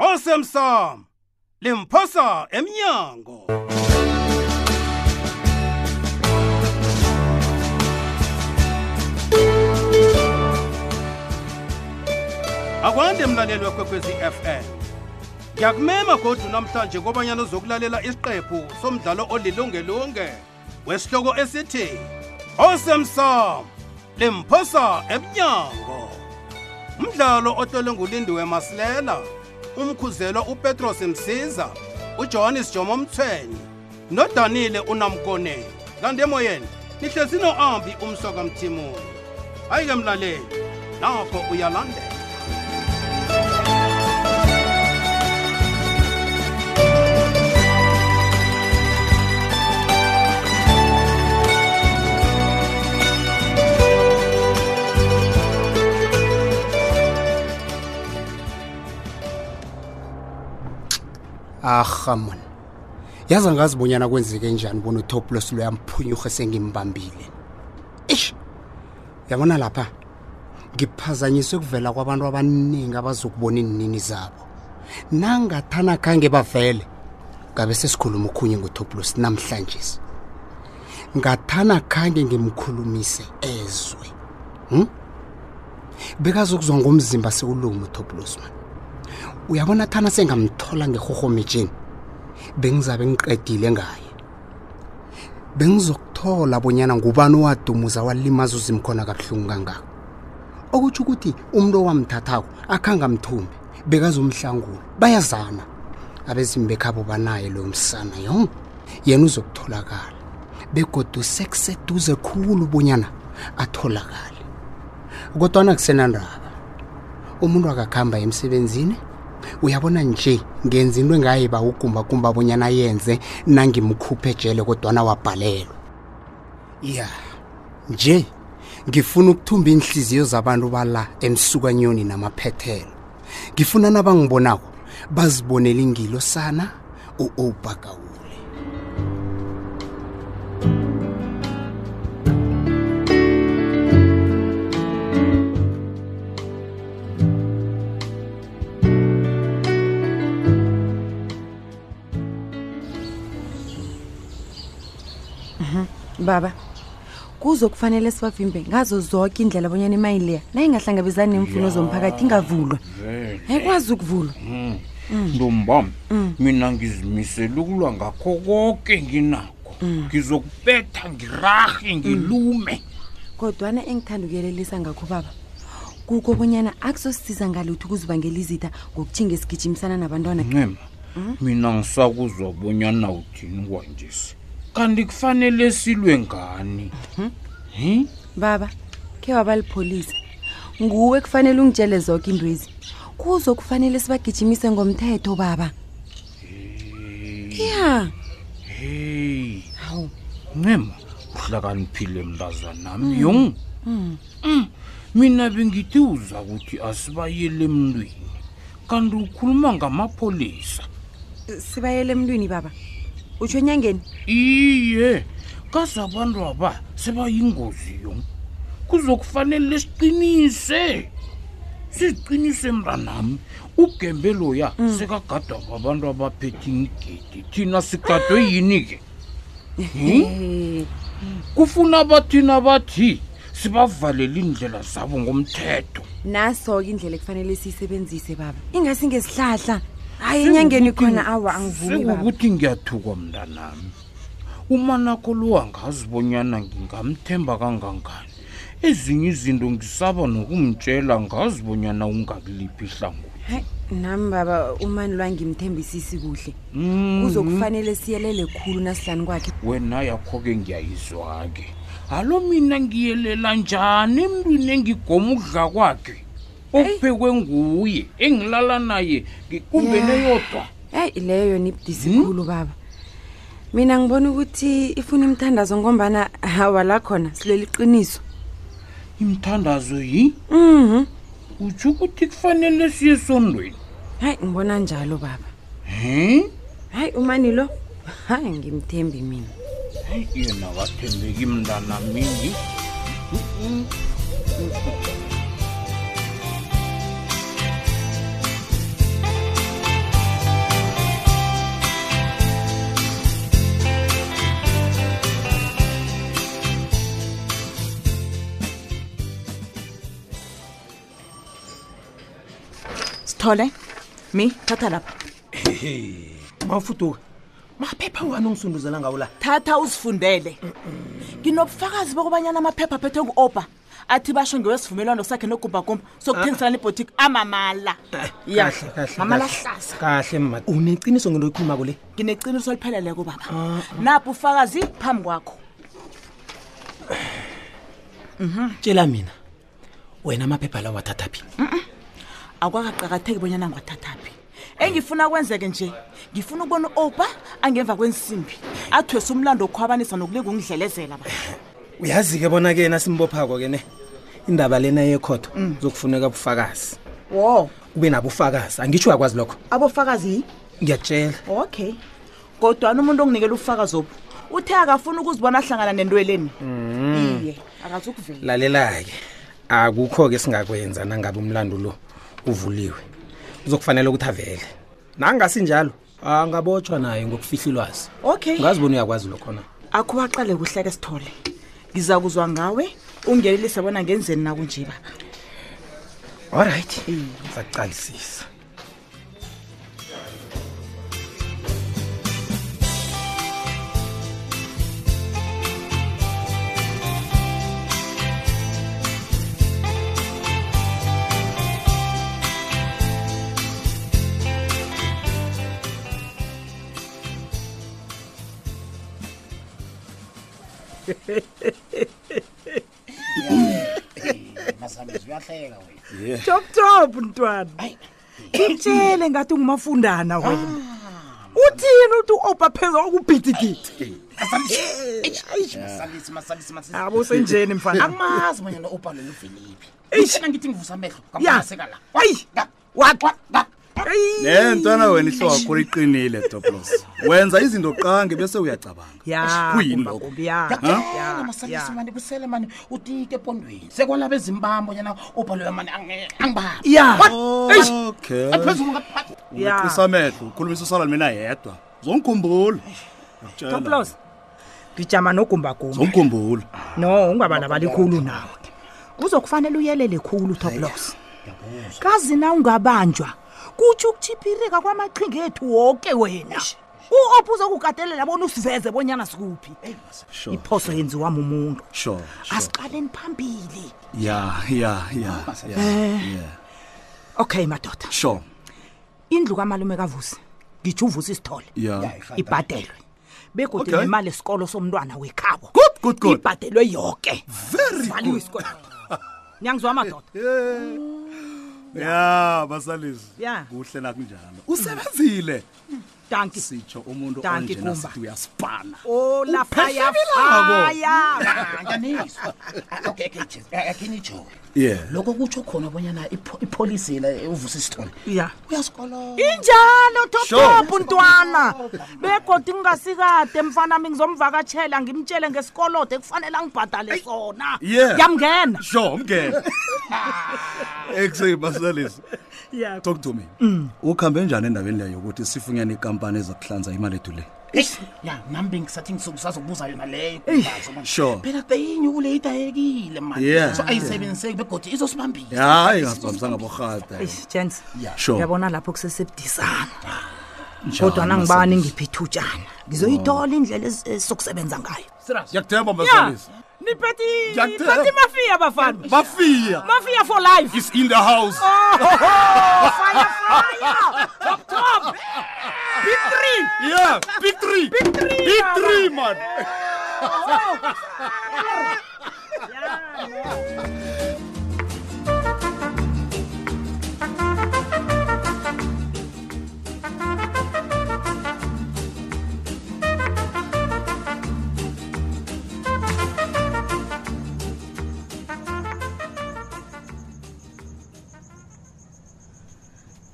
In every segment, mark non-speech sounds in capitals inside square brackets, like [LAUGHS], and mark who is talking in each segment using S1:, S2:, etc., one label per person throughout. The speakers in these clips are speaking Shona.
S1: liphose msamo limphosa emnyango akwande mlaleli wekwekwezi fm ngiyakumema godu namhlanje kobanyana uzokulalela isiqephu somdlalo olilungelunge wesihloko esithi osemsamo limphosa emnyango umdlalo ohlolwe ngulindiwe masilela umkhuzelwa upetros msiza ujohannes jomo mthweni nodanile unamkoneni kanti emoyeni nihlezi no-ambi umsokamthimuni hayi ke mlaleli nakho uyalandela
S2: aha mona yaza ngazibonyana kwenzeke njani bona utoplos lo yamphunyurhe sengimbambile ish yabona lapha ngiphazanyiswe kuvela kwabantu abaningi abazokubona iinini zabo nangathana khange bavele ngabe sesikhuluma ukhunye ngutoplos namhlanje ngathana khange ngimkhulumise ezwe hm? bekazokuzwa ngomzimba sewuluma utoplos man uyabona thana sengamthola ngehohometsheni bengizabe ngiqedile ngaye bengizokuthola bonyana ngubani owadumuza walimaza uzimkhona kabuhlungu kangako okutsho ukuthi umuntu owamthathako akhangamthumbi bekazomhlangula bayazama abezimi bekhabo banaye loyo msana yo yena uzokutholakala begodu sekuseduze khulu bonyana atholakale kodwana kusenandaba umuntu akakuhamba emsebenzini uyabona nje ngenza into engaye ba ugumbakumba bonyana yenze nangimkhuphe jele kodwana wabhalelwa ya nje ngifuna ukuthumba iinhliziyo zabantu bala emsukanyoni namaphethelo ngifuna nabangibonako bazibonela ingilo sana u-obakawule
S3: baba kuzokufanele sibavimbe ngazo zonke indlela abonyana imali leya nayingahlangabezani neemfuno zomphakathi ingavulwa
S4: Vele.
S3: ayikwazi ukuvulwa
S4: ntombam mina ngizimisele ukulwa ngakho konke nginakho ngizokubetha ngirahe ngilume
S3: kodwana engithanda ukuyelelisa ngakho baba kukho bonyana akusosisiza ngaluthi ukuzibangela izitha ngokuthinga esigijimisana nabantwana
S4: ncema mina ngisakuzwa bonyana uthini kwanjesi kanti kufanele silwe ngani Hmm?
S3: baba khe wabalipholisa nguwe kufanele ungitshele zonke intwezi kuzokufanele sibagijimise ngomthetho baba ya
S4: heyi
S3: hawu
S4: ncema uhlakaniphile mntazanami yo Mm, mina bengithi uza kuthi asibayele emntwini kanti ukhuluma ngamapholisa
S3: sibayele emntwini baba utsho enyangeni
S4: iye kaze abantu aba sebayingozi yo kuzokufanele siqinise siqinise mntanami ugembe loya sekagadwa babantu abaphethe imigidi thina sigadwe yini ke Hmm?
S3: [LAUGHS] Eh,
S4: kufuna bathina bathi sibavalele iindlela zabo ngomthetho
S3: naso-ke indlela ekufanele siyisebenzise baba ingasi ngesihlahla hayi enyangeni khona awa angivumi baba
S4: sekukuthi ngiyathukwa mntanami umanakho lo angazibonyana ngingamthemba kangangani ezinye izinto ngisaba nokumtshela ngazibonyana ungakuliphi ihlangothi
S3: Hayi, nami baba umani lwangimthembisisi kuhle
S4: Mhm.
S3: kuzokufanele siyelele khulu nasihlani kwakhe
S4: wena yakho-ke ngiyayizwa-ke alo mina ngiyelela njani emntwini engigoma ukudla kwakhe okuphekwe nguye engilala naye ngi- kumbe neyodwa
S3: eyi leyo yona ibudisi khulu baba mina ngibona ukuthi ifuna imthandazo ngombana hawa la khona silwela iqiniso
S4: imthandazo yi
S3: mhm
S4: utsho ukuthi kufanele siye esondweni
S3: hayi ngibona njalo baba
S4: Hmm?
S3: hayi umani lo [LAUGHS] hayi ngimthembi mina
S4: yena wathembeki mntanamini
S5: thole mi thatha lapha
S6: mafuduka maphepha wani ongisunduzela ngawo la
S5: thatha uzifundele nginobufakazi bokubanyana amaphepha aphethwe ngu-oba athi basho ngewesivumelwano sakhe nogumbagumba sokuthengiselana ibhotiki amamala
S6: Ah.
S5: Ya,
S6: Eh, kahle kahle
S5: mamala
S6: kahle.
S5: hlaza
S6: kahle ma uneqiniso ngento oyikhulumako le
S5: ngineciniso olipheleleko baba
S6: Ah,
S5: napho ufakazi phambi kwakho
S6: tshela mina wena amaphepha lawo wathathaphi
S5: akwakaqakatheki bonyana ngiwathathaphi engifuna kwenzeke nje ngifuna ukubona u-oba angemva kwensimbi athwese umlando wokhwabanisa nokulinga ungidlelezela ba
S6: uyazi-ke bona-ke yena simbophako-ke ne indaba lena yekhotho zokufuneka bufakazi
S5: wo
S6: ube nabo ufakazi angitsho uyakwazi lokho
S5: abofakazi
S6: ngiyakutshela
S5: okay kodwana umuntu onginikela ubufakazi obu uthe akafuni ukuzibona ahlangana nentweleni iye akazukuvela
S6: lalela-ke akukho-ke singakwenza nangabe umlando lo uvuliwe uzokufanele ukuthi avele nangasinjalo angabotshwa naye ngokufihla ilwazi
S5: okay
S6: ungazibona uyakwazi lokho na
S5: akhowaqale kuhleke sithole ngiza kuzwa ngawe ungenelise bona ngenzeni nakunjeba
S6: allright zakucalisisa
S7: top top mntwana ngitshele ngathi ungumafundana wena uthini uthi u-opa phezwa okubhidididi
S8: masalisi masalisi masalisi Ah,
S7: abo senjeni
S9: Ah.
S7: mfana
S8: amazi manyana obhalelo uveliphi
S7: Eish.
S8: mina ngithi ngivusa amehlo
S7: ya
S8: ngamaseka la
S7: hayi
S8: Wa- wa-
S7: Eyi.
S10: le ntwana wena ihloka kho liqinile toplos wenza izinto qange bese uyacabanga
S7: ya
S10: Kuyini
S7: kumba,
S10: lokho?
S7: kumbi, ya,
S8: yakutshela
S7: ya,
S8: masalisi
S7: ya.
S8: mani kusele mani utike epondweni sekwalaba ezimbambo nyana obhalelo mani ange- angibambi
S7: ya
S10: okay
S8: phezulu ngapha-
S10: uqisa amehlo ukhulumisa usala mina yedwa zongikhumbula Ngiyakutshela.
S7: toplos ngijama nogumbagumba
S10: zongikhumbula
S7: no ungabalabali khulu nawe kuzokufanele uyelele khulu toplos kazi na ungabanjwa kutsho ukuchiphirika kwamaqhinga ethu woke wena u-op uzokukatelela bona usiveze bonyana sikuphi
S10: sure
S7: iphoso yenziwa mumuntu
S10: sure sure
S7: asiqaleni phambili Oh,
S10: ya ya ya ya, ya
S7: okay madoda
S10: sure
S7: indlu kamalume kavusi ngitsho uvusa isithole
S10: ya
S7: ibhadelwe begodi
S10: Okay.
S7: nemali esikolo somntwana wekhabo
S10: Good, good, good.
S7: ibhadelwe yoke
S10: very
S7: valiwe isikoloto niyangizwa madoda
S10: [LAUGHS] ya basalisi
S7: Ya.
S10: kuhle nakunjalo usebenzile
S8: Mm-hmm.
S7: danki
S10: sitsho umuntu
S7: Danki
S10: onjena
S7: Kumba.
S10: sithi uyasipana
S7: Oh, olaphayafaya
S8: anyaniswa Ah, okay, okay, Jess, ah, akhini ijoke
S10: yeah
S8: lokho kutsho khona bonyana ipho- ipholisi yela uvusa isithole
S7: ya
S8: uyasikoloa
S7: injalo
S10: Sure.
S7: totopu ntwana begodi ngingasikade mfanami ngizomvakatshela ngimtshele ngesikolodo ekufanele angibhadale sona
S10: yeah.
S7: yamngena
S8: [LAUGHS]
S10: sure mngena ekuseni basalisi
S7: Yeah.
S10: talk to me
S8: Mm.
S10: ukuhambe njani endaweni leyo yokuthi sifunyane ikampani ezakuhlanza imali ethu le
S8: ya nami bengisathi ngisazokubuza yona leyo
S10: Sure.
S8: phela teinye kule idayekile
S10: Yeah.
S8: mani so ayisebenziseki begodi izosibambile
S10: hayi ngasibambisanga borhata
S7: jens
S10: Sure. Ah,
S7: uyabona lapho kusesebudisana
S10: Njani,
S7: kodwa nangibani
S10: Basalisi?
S7: ngiphi ithutshana
S10: Oh.
S7: ngizoyithola indlela es- esokusebenza ngayo
S10: ngiyakuthemba basalisi Ngiyakuthemba. niphethe
S7: mafiya bafana
S10: bafiya
S7: mafiya for life
S10: is [LAUGHS] Oh, in the house yeah big three big three, big three man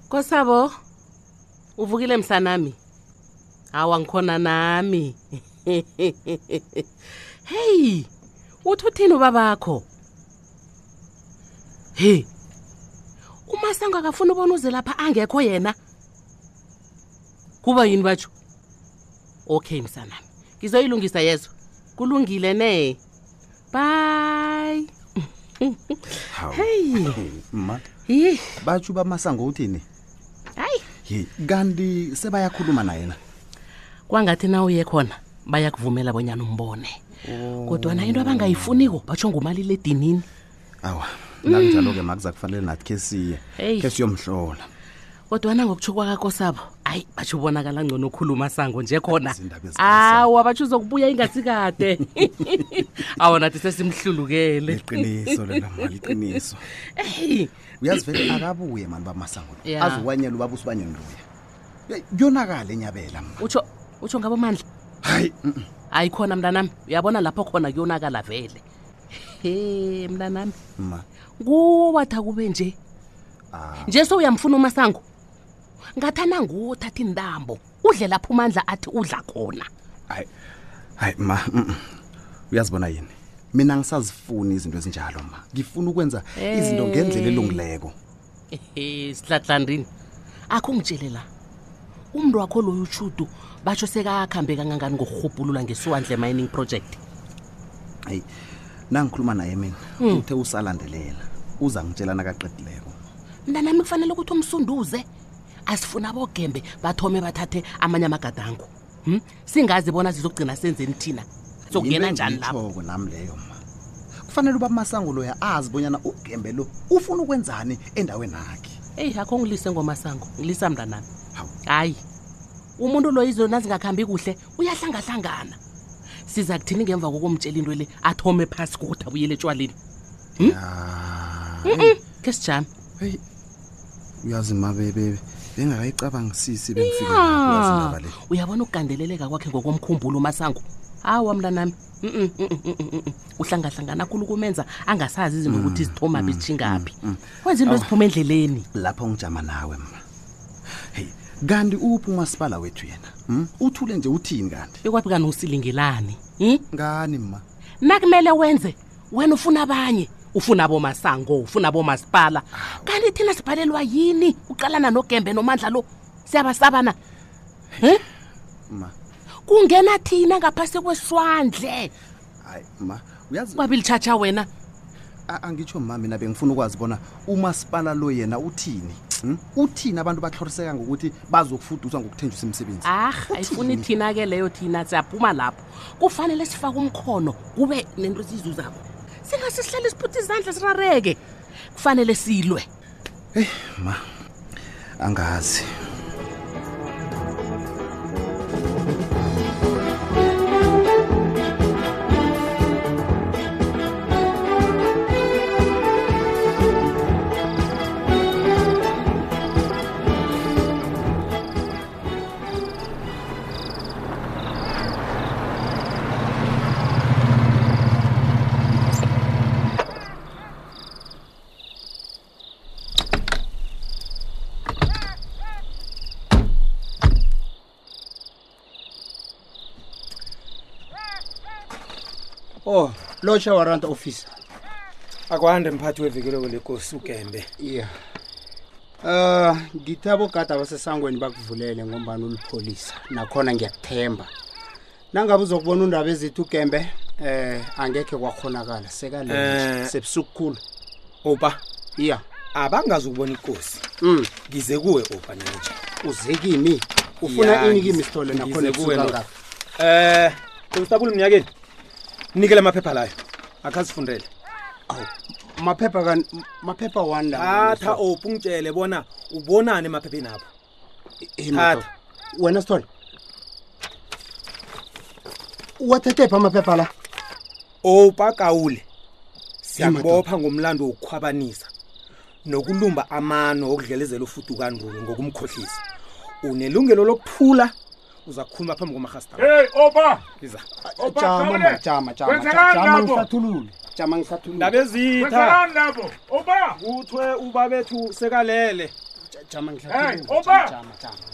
S11: kosabo uvukile msanami hawa ngikhona nami [LAUGHS] heyi uthi uthini ubabakho he umasango akafuni ubona uze lapha angekho yena kuba yini batsho okay msanami ngizoyilungisa yezo kulungile ne bye heyi
S9: ma
S11: Yih.
S9: Eh, batsho ubamasango uthini ye kanti sebayakhuluma naye na
S11: kwangathi na uye khona bayakuvumela bonyana umbone
S9: Oh.
S11: kodwana into abangayifuniko batsho ngumaliledinini
S9: awa
S8: Mm.
S9: nakunjalo-ke makuza kufanele nathi khe siye
S11: Hey.
S9: khe siyomhlola
S11: kodwana ngokutsho kwakakho sabo hayi batsho ubonakala ngcono okhuluma sango nje khona
S9: Izindaba ezi-
S11: awa batsho uzokubuya ingasikade [LAUGHS] awa nathi sesimhlulukele [LAUGHS]
S9: liqiniso lelama liqiniso
S11: Eyi.
S9: uyazi vele akabuye mani bamasango lo
S11: Ya.
S9: aziwanyela ubaba usibanyeni luya Ye, kuyonakala enyabela ma
S11: utsho utsho ngabo mandla
S9: hayi
S11: hayi khona mntanami uyabona lapho khona kuyonakala vele he mntanami
S9: ma
S11: nguwo wathi akube nje nje sowuyamfuna umasango ngathana nguwo othatha intambo udle lapho umandla athi udla khona
S9: hayi hayi ma mm-mm. uyazibona yini mina ngisazifuni izinto ezinjalo ma ngifuna ukwenza izinto ngendlela
S11: Eh.
S9: elungileko
S11: ehe sihlatlandrini akho ngitshele la umntu wakho loyo utshudu batsho sekakhambe kangangani ngokurhubhulula ngesuwandle mining project
S9: hayi nangikhuluma naye mina
S11: Mm.
S9: uthe usalandelela uza ngitshela nakaqedileko
S11: mntanami kufanele ukuthi umsunduze asifuna bogembe bathome bathathe amanye amagadango hm? singazi bona sizokugcina senzeni thina
S9: Yinto
S11: sokungena njani lapho
S9: engiyitjhoko nami leyo ma kufanele uba masango loya azi bonyana ugembe lo ufuna ukwenzani endaweni yakhe
S11: eyi akho ngilise ngomasango ngilisa mntanami hayi umuntu lo izona zingakhambi kuhle uyahlangahlangana siza kuthini ngemva kokumtshela into le athome phasi kokuthi abuyele etshwaleni hm? Mm-mm, khe sijame
S9: uyazi ma bebe bengakayicabangisisi bengifike lapho, uyazi indaba
S11: ya
S9: le.
S11: uyabona ukugandeleleka kwakhe ngokomkhumbulo umasango hawa mntanami Mm-mm, mm-mm, mm-mm, mm. uhlangahlangana khulu kumenza angasazi izinto ukuthi izithomaphi zitshingaphi wenza into eziphume endleleni
S9: lapho ngijama nawe ma heyi kanti uphi umasipala wethu yena hmm? uthule nje uthini kanti
S11: bekwaphi Hmm? kani usilingelani
S9: ngani ma
S11: nakumele wenze wena ufuna abanye ufuna bomasango ufuna bomasipala kanti thina sibhalelwa yini uqalana nogembe nomandla lo siyabasabana um
S9: ma
S11: kungena thina ngaphasi kweswandle
S9: hayi ma uyazi
S11: kwabilitshatsha wena
S9: A- angitsho ma mina bengifuna ukwazi bona umasipala lo yena uthini hmm? uthini abantu bahloriseka ngokuthi bazokufuduswa ngokuthenjisa imisebenzi
S11: ah ayifuni thina ke leyo thina siyaphuma lapho kufanele sifake umkhono kube nento esiyizuzako singasisihleli siphuthi izandla sirareke kufanele silwe
S9: ma angazi
S2: o lotsha warrant officer
S6: akwande mphathi wevikeleko lekosi ugembe
S2: ya um ngithi abogada abasesangweni bakuvulele ngombani ulipholisa nakhona ngiyakuthemba nangabe uzokubona undaba ezithi ugembe um angekhe kwakhonakala
S6: Eh.
S2: sekale sebusuku khulu
S6: opa
S2: iya
S6: abangazi ukubona ikosi
S2: um
S6: ngize kuwe opa nenje
S2: uze kimi ufuna
S6: Ya,
S2: ini kimi
S6: ngiz-
S2: sithole
S6: ngize
S2: nakhona ebusuku
S6: kuwe, no.
S2: kangaka
S6: um konstabule mnyakeni nikele amaphepha layo akhazifundele
S2: maphepha kan maphepha one
S6: thatha opa ungitshele bona ubonani emaphepheni apho
S2: thatha wena sithole uwathethephi amaphepha la
S6: opa kawule siyakubopha ngomlando wokukhwabanisa nokulumba amano okudlelezela ufudukandulo ngokumkhohlisa unelungelo lokuphula uza kukhuluma phambi komarhastar
S2: hey opa
S6: iza
S12: Opa,
S2: jama
S12: Khawule.
S2: ma jama jama
S12: Wenzakalani
S2: jama
S12: lapho?
S2: ngihlathulule jama ngihlathulule
S6: ndaba ezitha
S12: Wenzakalani lapho? Oba!
S6: kuthwe uba bethu sekalele
S2: jama
S12: Hey, oba!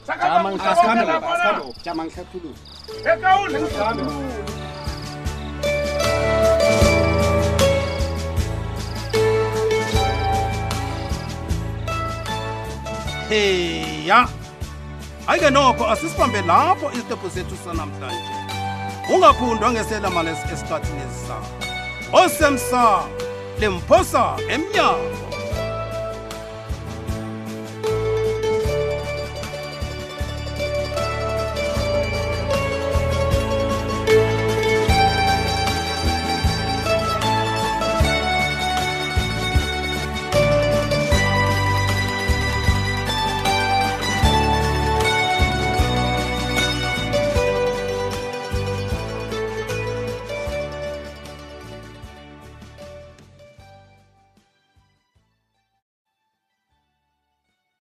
S12: Sakata
S2: Jama,
S12: kuhle
S2: ngihlathulule.
S12: konke lapha na?
S2: Asikhambe. jama ngihlathulule
S12: Ekawule.
S1: heya hayi ke nokho asisibambe lapho isiqephu sethu sanamhlanje ungaphundwa ngeselamalesi esikhathini esizayo osemsa limphosa emnyango